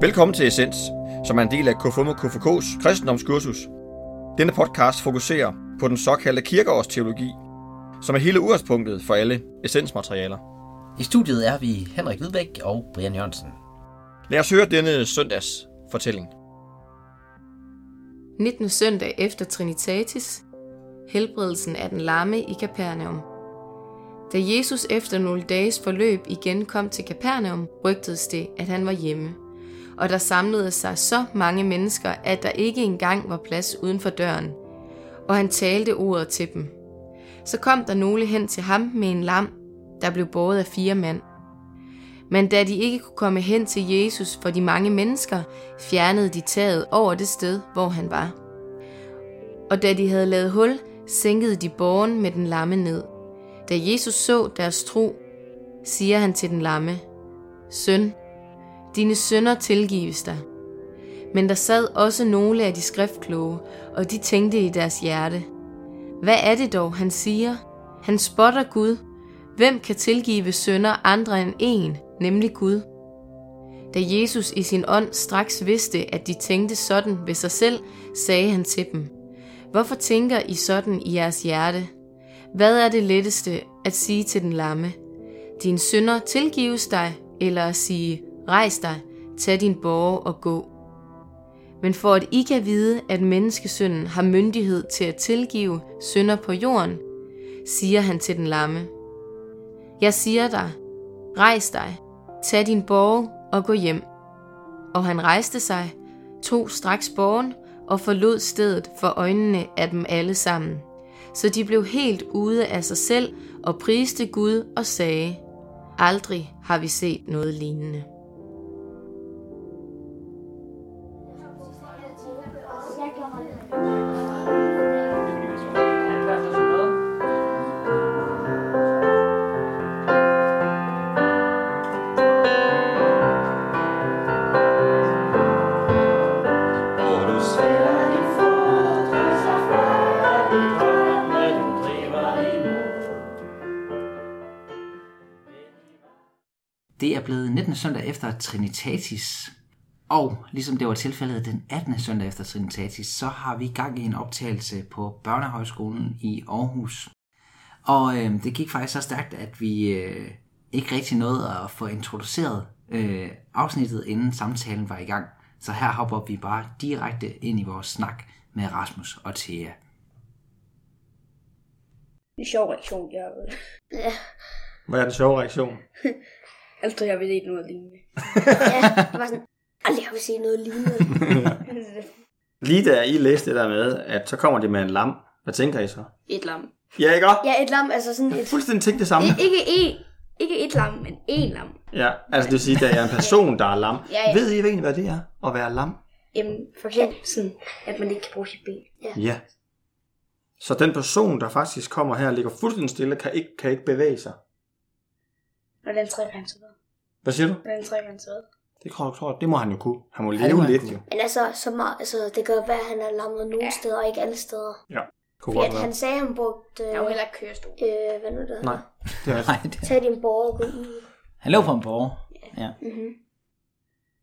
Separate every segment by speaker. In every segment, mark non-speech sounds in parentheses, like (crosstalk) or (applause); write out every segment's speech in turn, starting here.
Speaker 1: Velkommen til Essens, som er en del af KFUM og KFK's kristendomskursus. Denne podcast fokuserer på den såkaldte kirkeårsteologi, som er hele udgangspunktet for alle essensmaterialer.
Speaker 2: I studiet er vi Henrik Hvidbæk og Brian Jørgensen.
Speaker 1: Lad os høre denne søndags fortælling.
Speaker 3: 19. søndag efter Trinitatis, helbredelsen af den lamme i Kapernaum. Da Jesus efter nogle dages forløb igen kom til Kapernaum, rygtedes det, at han var hjemme. Og der samlede sig så mange mennesker, at der ikke engang var plads uden for døren. Og han talte ordet til dem. Så kom der nogle hen til ham med en lam, der blev båret af fire mand. Men da de ikke kunne komme hen til Jesus for de mange mennesker, fjernede de taget over det sted, hvor han var. Og da de havde lavet hul, sænkede de borgen med den lamme ned. Da Jesus så deres tro, siger han til den lamme, Søn, dine sønder tilgives dig. Men der sad også nogle af de skriftkloge, og de tænkte i deres hjerte, Hvad er det dog, han siger? Han spotter Gud, Hvem kan tilgive sønder andre end en, nemlig Gud? Da Jesus i sin ånd straks vidste, at de tænkte sådan ved sig selv, sagde han til dem, Hvorfor tænker I sådan i jeres hjerte? Hvad er det letteste at sige til den lamme? Din sønder tilgives dig, eller at sige, rejs dig, tag din borger og gå. Men for at I kan vide, at menneskesynden har myndighed til at tilgive sønder på jorden, siger han til den lamme, jeg siger dig, rejs dig, tag din borg og gå hjem. Og han rejste sig, tog straks borgen og forlod stedet for øjnene af dem alle sammen. Så de blev helt ude af sig selv og priste Gud og sagde, aldrig har vi set noget lignende.
Speaker 2: Det er blevet 19. søndag efter Trinitatis. Og ligesom det var tilfældet den 18. søndag efter Trinitatis, så har vi gang i en optagelse på Børnehøjskolen i Aarhus. Og øh, det gik faktisk så stærkt, at vi øh, ikke rigtig nåede at få introduceret øh, afsnittet, inden samtalen var i gang. Så her hopper vi bare direkte ind i vores snak med Rasmus og Thea.
Speaker 4: En sjov reaktion, jeg har vel.
Speaker 5: Ja,
Speaker 6: Hvad er den sjove
Speaker 4: (laughs)
Speaker 6: reaktion?
Speaker 4: Altså, jeg ved ikke noget lignende.
Speaker 5: (laughs) ja. Jeg var sådan, aldrig har vi set noget
Speaker 4: (laughs)
Speaker 5: lignende.
Speaker 6: Lige da I læste det der med, at så kommer det med en lam. Hvad tænker I så?
Speaker 4: Et lam.
Speaker 6: Ja, ikke også?
Speaker 5: ja, et lam, altså sådan et...
Speaker 6: Fuldstændig tænkt det samme.
Speaker 4: (laughs)
Speaker 5: I- Ikke en...
Speaker 4: Ikke et lam, men en lam.
Speaker 6: Ja, altså det vil sige, at der er en person, der er lam.
Speaker 4: Ja, ja.
Speaker 6: Ved I egentlig, hvad det er at være lam?
Speaker 4: Jamen, for eksempel sådan, at man ikke kan bruge sit ben.
Speaker 6: Ja. Så den person, der faktisk kommer her og ligger fuldstændig stille, kan ikke, kan ikke bevæge sig.
Speaker 4: Og den trekantet ved.
Speaker 6: Hvad siger du?
Speaker 4: Og den trekantet ved.
Speaker 6: Det tror jeg, tror, det må han jo kunne. Han må
Speaker 2: Ja,
Speaker 6: leve
Speaker 2: det må han
Speaker 6: lidt
Speaker 2: kunne.
Speaker 6: jo.
Speaker 5: Men altså, så meget, altså, det kan jo være, at han er lammet nogle steder, og ikke alle steder.
Speaker 6: Kunne
Speaker 5: Fordi
Speaker 6: godt
Speaker 5: at
Speaker 6: være.
Speaker 5: han sagde, at han brugte...
Speaker 4: Jeg er jo heller ikke kørestol.
Speaker 5: øh, hvad nu det hedder?
Speaker 6: Nej, det er
Speaker 2: Nej, det,
Speaker 5: Tag din borger og gå ud.
Speaker 2: han lå på en borg. Ja.
Speaker 5: Mhm.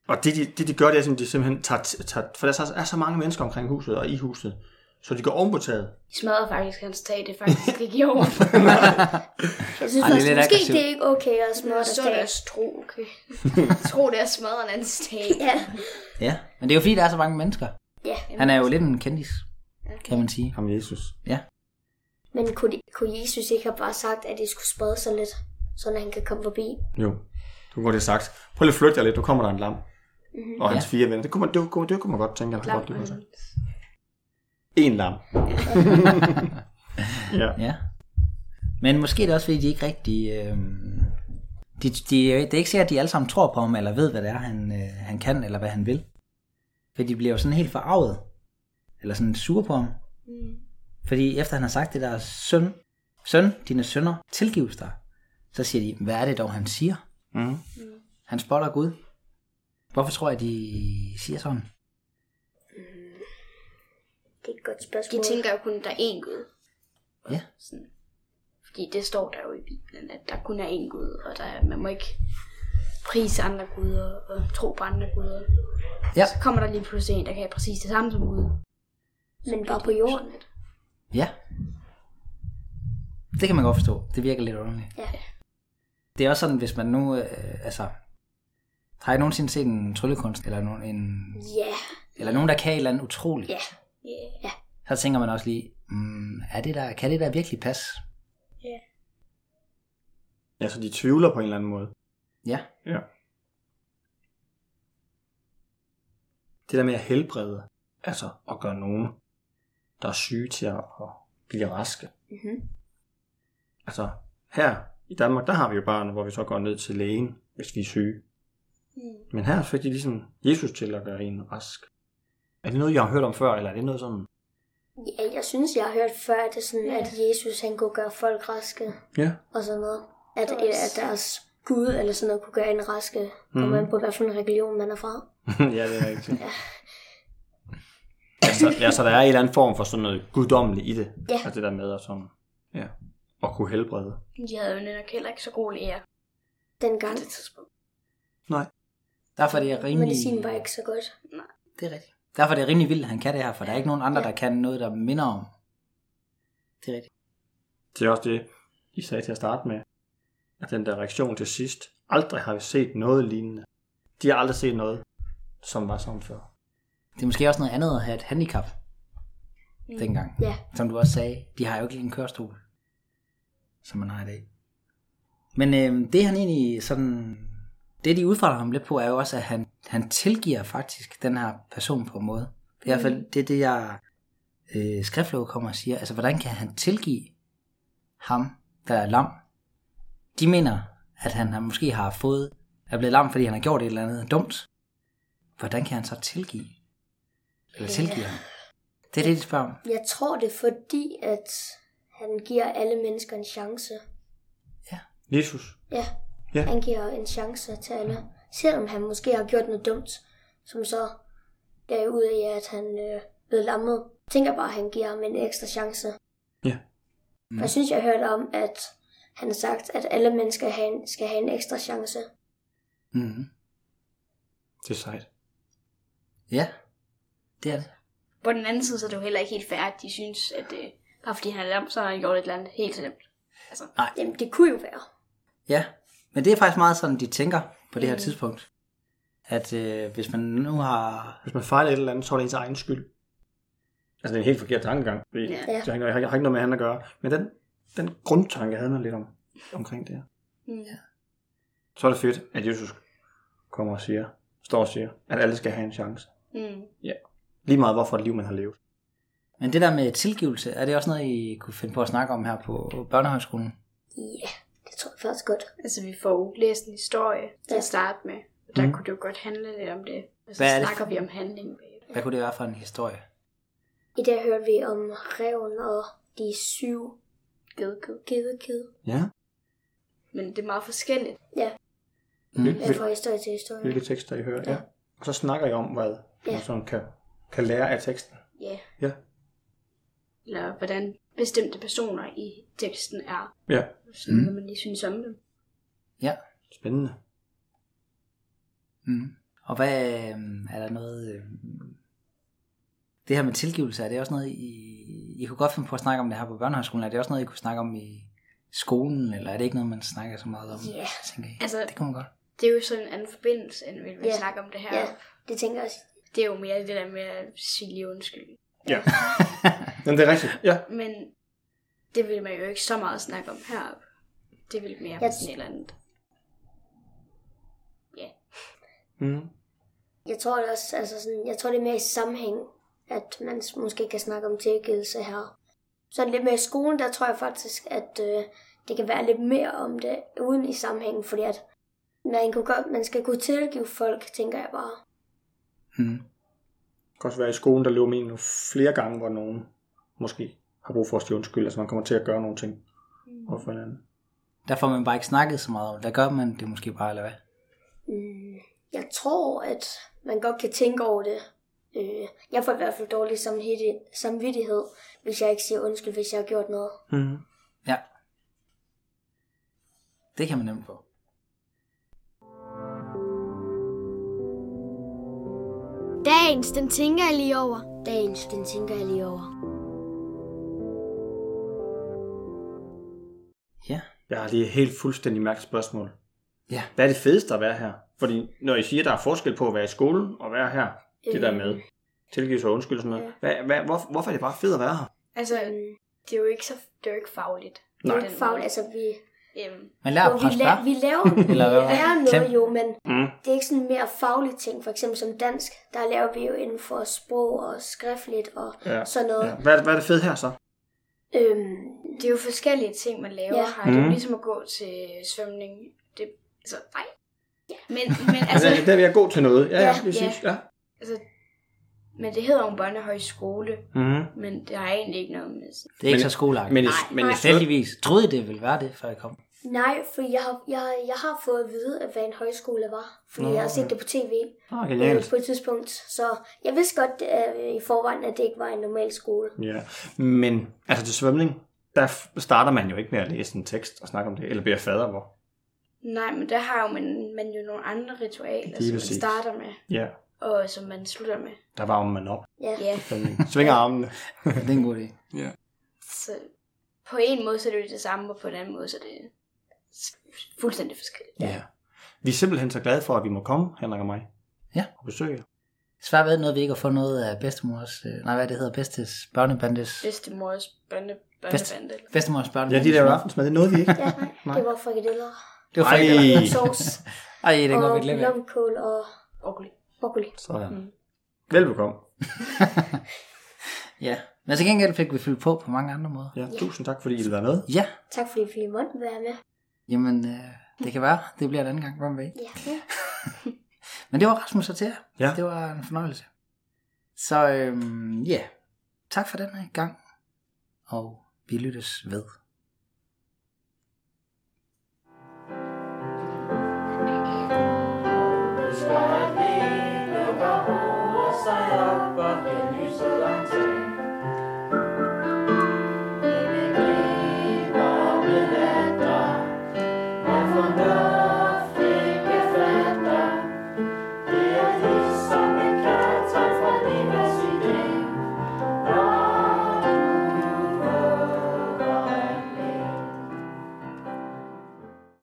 Speaker 6: Og det de, det, de gør, det er, at de simpelthen tager, tager... For der er så, er så mange mennesker omkring huset og i huset, så de går oven på taget.
Speaker 4: De smadrer faktisk hans tag, det er faktisk ikke i orden.
Speaker 5: Jeg synes
Speaker 2: Ej, det er
Speaker 5: faktisk,
Speaker 2: lidt
Speaker 5: måske
Speaker 2: aggressivt.
Speaker 5: det er ikke okay at smadre
Speaker 4: Og så
Speaker 5: dig.
Speaker 4: deres tro,
Speaker 6: (laughs)
Speaker 4: okay. tro, det er at smadre en andens tag.
Speaker 5: Ja,
Speaker 2: ja. Men det er jo fordi, der er så mange mennesker.
Speaker 5: ja.
Speaker 2: Han er jo lidt en kendis, kan man sige.
Speaker 6: Ham Jesus.
Speaker 2: Ja.
Speaker 5: Men kunne, de, kunne Jesus ikke have bare sagt, at de skulle sprede sig lidt, så han kan komme forbi?
Speaker 6: Jo, du kunne godt have sagt. Prøv lige at flytte jer lidt, nu kommer der en lam. Mm-hmm. Og hans
Speaker 2: Ja.
Speaker 6: ja. fire venner. Det kunne man, det kunne, det kunne man godt tænke, at han godt det kunne sige. En lam. ja.
Speaker 2: Ja. Men måske er det også, fordi de ikke rigtig... Øh, de, de, det er ikke sikkert, at de alle sammen tror på ham, eller ved, hvad det er, han, øh, han kan, eller hvad han vil. For de bliver jo sådan helt forarvet. Eller sådan sure på ham.
Speaker 4: Mm.
Speaker 2: Fordi efter han har sagt det der, søn, søn, dine sønner tilgives dig. Så siger de, hvad er det dog, han siger?
Speaker 6: Mm.
Speaker 2: Han spotter Gud. Hvorfor tror jeg, de siger sådan?
Speaker 5: Det er et godt spørgsmål.
Speaker 4: De tænker jo kun, at der er én Gud.
Speaker 2: Ja.
Speaker 4: Sådan. Fordi det står der jo i Bibelen, at der kun er én Gud, og der, man må ikke prise andre guder og tro på andre guder.
Speaker 2: Ja.
Speaker 4: Så kommer der lige pludselig en, der kan præcis det samme som Gud.
Speaker 5: Men bare på jorden.
Speaker 2: Ja. Det kan man godt forstå. Det virker lidt underligt.
Speaker 5: Ja.
Speaker 2: Det er også sådan, hvis man nu... Øh, altså, har I nogensinde set en tryllekunst, eller nogen, en,
Speaker 5: Ja.
Speaker 2: eller nogen, der kan et eller andet utroligt?
Speaker 5: Ja. Ja.
Speaker 2: Så tænker man også lige, mm, er det der, kan det der virkelig passe?
Speaker 6: Ja, så de tvivler på en eller anden måde.
Speaker 2: Ja.
Speaker 6: Ja. Det der med at helbrede, altså at gøre nogen, der er syge til at, at blive raske.
Speaker 5: Mhm.
Speaker 6: Altså her i Danmark, der har vi jo barn, hvor vi så går ned til lægen, hvis vi er syge.
Speaker 5: Mm.
Speaker 6: Men her fik de ligesom Jesus til at gøre en rask. Er det noget, jeg har hørt om før, eller er det noget sådan?
Speaker 5: Ja, jeg synes, jeg har hørt før, at det er sådan, at Jesus han kunne gøre folk raske
Speaker 6: Ja.
Speaker 5: og sådan noget. At, at deres Gud eller sådan noget kunne gøre en raske. Kommer
Speaker 2: Mhm.
Speaker 5: man på, hvad for en religion man er fra.
Speaker 6: (laughs) ja, det er rigtigt. ja, så, ja, så der er en eller anden form for sådan noget guddommeligt i det.
Speaker 5: Ja.
Speaker 6: Altså det der med at, sådan, ja, at kunne helbrede.
Speaker 4: De havde jo nok heller ikke så god læger.
Speaker 5: Dengang.
Speaker 6: Nej.
Speaker 2: Derfor er det rimelig...
Speaker 5: Medicinen var ikke så godt.
Speaker 2: Det er rigtigt. Derfor er det rimelig vildt, at han kan det her, for der er ikke nogen andre, der kan noget, der minder om. Det er rigtigt.
Speaker 6: Det er også det, I sagde til at starte med. At den der reaktion til sidst, aldrig har vi set noget lignende. De har aldrig set noget, som var sådan før.
Speaker 2: Det er måske også noget andet at have et handicap mm. dengang.
Speaker 5: Ja.
Speaker 2: Som du også sagde, de har jo ikke en kørestol, som man har i dag. Men øh, det han egentlig sådan... Det, de udfordrer ham lidt på, er jo også, at han, han tilgiver faktisk den her person på en måde. Det er i hvert fald det, er det jeg øh, skriftlov kommer og siger. Altså, hvordan kan han tilgive ham, der er lam? De mener, at han har måske har fået, er blevet lam, fordi han har gjort et eller andet dumt. Hvordan kan han så tilgive? Eller tilgive ham? Det er det, de spørger om.
Speaker 5: Jeg tror det er fordi, at han giver alle mennesker en chance.
Speaker 6: Jesus.
Speaker 5: Ja.
Speaker 6: Ja.
Speaker 5: Han giver en chance til alle. Selvom han måske har gjort noget dumt, som så gav ud af, at han øh, blev lammet. Jeg tænker bare, at han giver ham en ekstra chance.
Speaker 6: Ja.
Speaker 5: Mm. Jeg synes, jeg har hørt om, at han har sagt, at alle mennesker have en, skal have en ekstra chance.
Speaker 2: Mm-hmm.
Speaker 6: Det er sejt.
Speaker 2: Ja, det er det.
Speaker 4: På den anden side, så er det jo heller ikke helt fair, at de synes, at øh, bare fordi han er lam, så har han gjort et eller andet helt slemt. Altså,
Speaker 5: Jamen, det kunne jo være.
Speaker 2: Ja, men det er faktisk meget sådan, de tænker på det her tidspunkt. At øh, hvis man nu har...
Speaker 6: Hvis man fejler et eller andet, så er det ens egen skyld. Altså det er en helt forkert tankegang. Fordi
Speaker 4: Ja.
Speaker 6: ja. jeg, har, ikke- jeg, har, jeg har ikke noget med han at gøre. Men den, den grundtanke havde man lidt om, omkring det her.
Speaker 4: ja.
Speaker 6: Så er det fedt, at Jesus kommer og siger, står og siger, at alle skal have en chance.
Speaker 4: Mm.
Speaker 6: Lige meget hvorfor et liv man har levet.
Speaker 2: Men det der med tilgivelse, er det også noget, I kunne finde på at snakke om her på børnehøjskolen?
Speaker 5: Ja, det tror jeg faktisk godt.
Speaker 4: Altså, vi får jo læst en historie til
Speaker 5: Ja.
Speaker 4: at starte med, og der
Speaker 6: Mm.
Speaker 4: mm. kunne det jo godt handle lidt om det. Og så
Speaker 2: Hvad er det
Speaker 4: snakker
Speaker 2: for-
Speaker 4: vi om handlingen bagefter.
Speaker 2: Hvad kunne det være for en historie?
Speaker 5: I dag hørte vi om reven og de syv
Speaker 4: Gedkød.
Speaker 5: gedekid.
Speaker 6: Ja.
Speaker 4: Men det er meget forskelligt.
Speaker 2: Mm.
Speaker 5: Ja, fra historie til historie.
Speaker 6: Hvilke tekster I hører. Ja. Og så snakker I om, hvad ja. man sådan kan, kan lære af teksten.
Speaker 4: Ja.
Speaker 6: Ja.
Speaker 4: Eller hvordan bestemte personer i teksten er.
Speaker 6: Ja.
Speaker 4: Sådan, mm. hvad man lige synes om dem.
Speaker 2: Ja.
Speaker 6: Spændende.
Speaker 2: Mm. Og hvad øh, er der noget... Øh, det her med tilgivelse, er det også noget, I... I kunne godt finde på at snakke om det her på børnehøjskolen. Er det også noget, I kunne snakke om i skolen, eller er det ikke noget, man snakker så meget om?
Speaker 5: Ja.
Speaker 2: tænker I?
Speaker 4: Altså-
Speaker 2: det kunne man godt.
Speaker 4: Det er jo sådan en anden forbindelse, end vi vil
Speaker 5: Ja.
Speaker 4: snakke om det her.
Speaker 5: Ja, det tænker jeg også.
Speaker 4: Det er jo mere det der med at sige lige undskyld.
Speaker 6: Ja. Men det er rigtigt. Ja.
Speaker 4: Men det vil man jo ikke så meget snakke om heroppe. Det vil mere
Speaker 5: Jeg-
Speaker 4: yes. sådan et eller andet. Ja.
Speaker 6: Mm.
Speaker 5: Jeg tror det også, altså sådan, jeg tror det er mere i sammenhæng, at man s- måske kan snakke om tilgivelse her. Så lidt mere i skolen, der tror jeg faktisk, at øh, det kan være lidt mere om det, uden i sammenhængen, fordi at man, kunne godt, man skal kunne tilgive folk, tænker jeg bare.
Speaker 2: Mm.
Speaker 6: Det kan også være i skolen, der løber man ind nu flere gange, hvor nogen måske har brug for at sige undskyld. Altså man kommer til at gøre nogle ting over for hinanden.
Speaker 2: Der får man bare ikke snakket så meget om det. Der gør man det måske bare, eller hvad?
Speaker 5: Mm, jeg tror, at man godt kan tænke over det. Øh, jeg får i hvert fald dårlig samvittighed- samvittighed, hvis jeg ikke siger undskyld, hvis jeg har gjort noget.
Speaker 6: Mm.
Speaker 2: Ja. Det kan man nemt få.
Speaker 7: Dagens, den tænker jeg lige over.
Speaker 5: Dagens, den tænker jeg lige over.
Speaker 2: Ja.
Speaker 6: Jeg har lige et helt fuldstændig mærket spørgsmål.
Speaker 2: Ja.
Speaker 6: Hvad er det fedeste at være her? Fordi når I siger, at der er forskel på at være i skolen og være her, det der med tilgivelse og undskyld og sådan noget. Hvad, hvad, hvor, hvorfor er det bare fedt at være her?
Speaker 4: Altså, det er jo ikke, så, det er jo ikke fagligt.
Speaker 5: Det er
Speaker 4: Nej.
Speaker 5: jo Mm. ikke fagligt, altså vi,
Speaker 4: Øhm,
Speaker 2: Man lærer
Speaker 5: jo,
Speaker 2: at
Speaker 5: vi,
Speaker 2: presse
Speaker 5: la-
Speaker 2: bær.
Speaker 5: vi laver
Speaker 2: (laughs) Eller hvad?
Speaker 5: vi lærer noget
Speaker 2: Klem.
Speaker 5: jo, men
Speaker 6: Mm.
Speaker 5: det er ikke sådan mere faglige ting. For eksempel som dansk, der laver vi jo inden for sprog og skriftligt og
Speaker 6: Ja.
Speaker 5: ja. sådan noget.
Speaker 6: Ja. Hvad, er det- hvad er det fedt her så?
Speaker 5: Ja. Øhm,
Speaker 4: det er jo forskellige ting, man laver
Speaker 5: Ja.
Speaker 4: ja. her. Det er
Speaker 6: Mhm.
Speaker 4: jo ligesom at gå til svømning. Det, altså, nej. Ja. Men,
Speaker 6: (laughs)
Speaker 4: men, altså,
Speaker 6: Altså, der, der vil jeg god til noget. Ja, ja,
Speaker 5: Ja,
Speaker 6: lige præcis. Ja.
Speaker 4: altså, men det hedder jo Børnehøj Skole,
Speaker 6: Mm.
Speaker 4: men det har egentlig ikke noget med...
Speaker 2: Det er ikke
Speaker 6: Men-
Speaker 2: så skoleagtigt.
Speaker 6: Men,
Speaker 2: Men,
Speaker 6: i,
Speaker 4: Nej,
Speaker 6: men i
Speaker 4: nej.
Speaker 6: svøm,
Speaker 2: Heldigvis. Troede I, det ville være det, før jeg
Speaker 6: (laughs)
Speaker 2: kom?
Speaker 5: nej, for jeg har, jeg, jeg har fået at vide, at hvad en højskole var. Fordi
Speaker 6: Nå,
Speaker 5: Nå, jeg har set det på tv
Speaker 6: Ah,
Speaker 5: øh,
Speaker 6: genialt.
Speaker 5: på et tidspunkt. Så jeg vidste godt øh, i forvejen, at det ikke var en normal skole.
Speaker 6: Ja. Men altså til svømning, der f- starter man jo ikke med at læse en tekst og snakke om det, eller bede fader hvor.
Speaker 4: Nej, men der har jo man, man jo nogle andre ritualer,
Speaker 6: Lige
Speaker 4: som man
Speaker 6: præcis.
Speaker 4: starter med,
Speaker 6: Ja,
Speaker 4: og som man slutter med.
Speaker 6: der varmer man op.
Speaker 5: Ja.
Speaker 4: Ja,
Speaker 6: Svømning. Svinger armene.
Speaker 2: Ja, det er en god idé.
Speaker 4: så på en måde så er det jo det samme, og på en anden måde så er det s- fuldstændig forskelligt.
Speaker 6: Ja. Vi er simpelthen så glade for, at vi må komme, Henrik og mig.
Speaker 2: Ja.
Speaker 6: Og besøge jer.
Speaker 2: Svært ved noget, vi ikke har fået noget af bedstemors... øh, Nej, hvad det hedder? Bedstes børnebandes...
Speaker 4: Bedstemors børne,
Speaker 2: Bedst-
Speaker 4: børnebande. eller-
Speaker 2: Bedstemors
Speaker 6: Ja,
Speaker 2: børnebandes.
Speaker 6: de der var aftensmad, det nåede vi ikke.
Speaker 5: ja
Speaker 2: (laughs)
Speaker 5: nej, det var frikadeller
Speaker 2: Det var
Speaker 6: Ej.
Speaker 2: frikadeller.
Speaker 5: og sovs
Speaker 2: Ej, (laughs) det er godt,
Speaker 5: og
Speaker 2: vi glemmer.
Speaker 5: blomkål og
Speaker 4: Broccoli.
Speaker 5: broccoli.
Speaker 6: Sådan. Velbekomme.
Speaker 2: Ja. Men til gengæld fik vi fyldt på på mange andre måder.
Speaker 6: Ja, tusind tak, fordi I ville være med.
Speaker 2: Ja,
Speaker 5: Tak fordi vi måtte være med.
Speaker 2: jamen øh, det kan være. Det bliver en anden gang, hvem ved.
Speaker 5: Ja. ja.
Speaker 2: Men det var Rasmus og til jer.
Speaker 6: Ja.
Speaker 2: Det var en fornøjelse. Så øhm, ja, tak for den her gang. Og vi lyttes ved.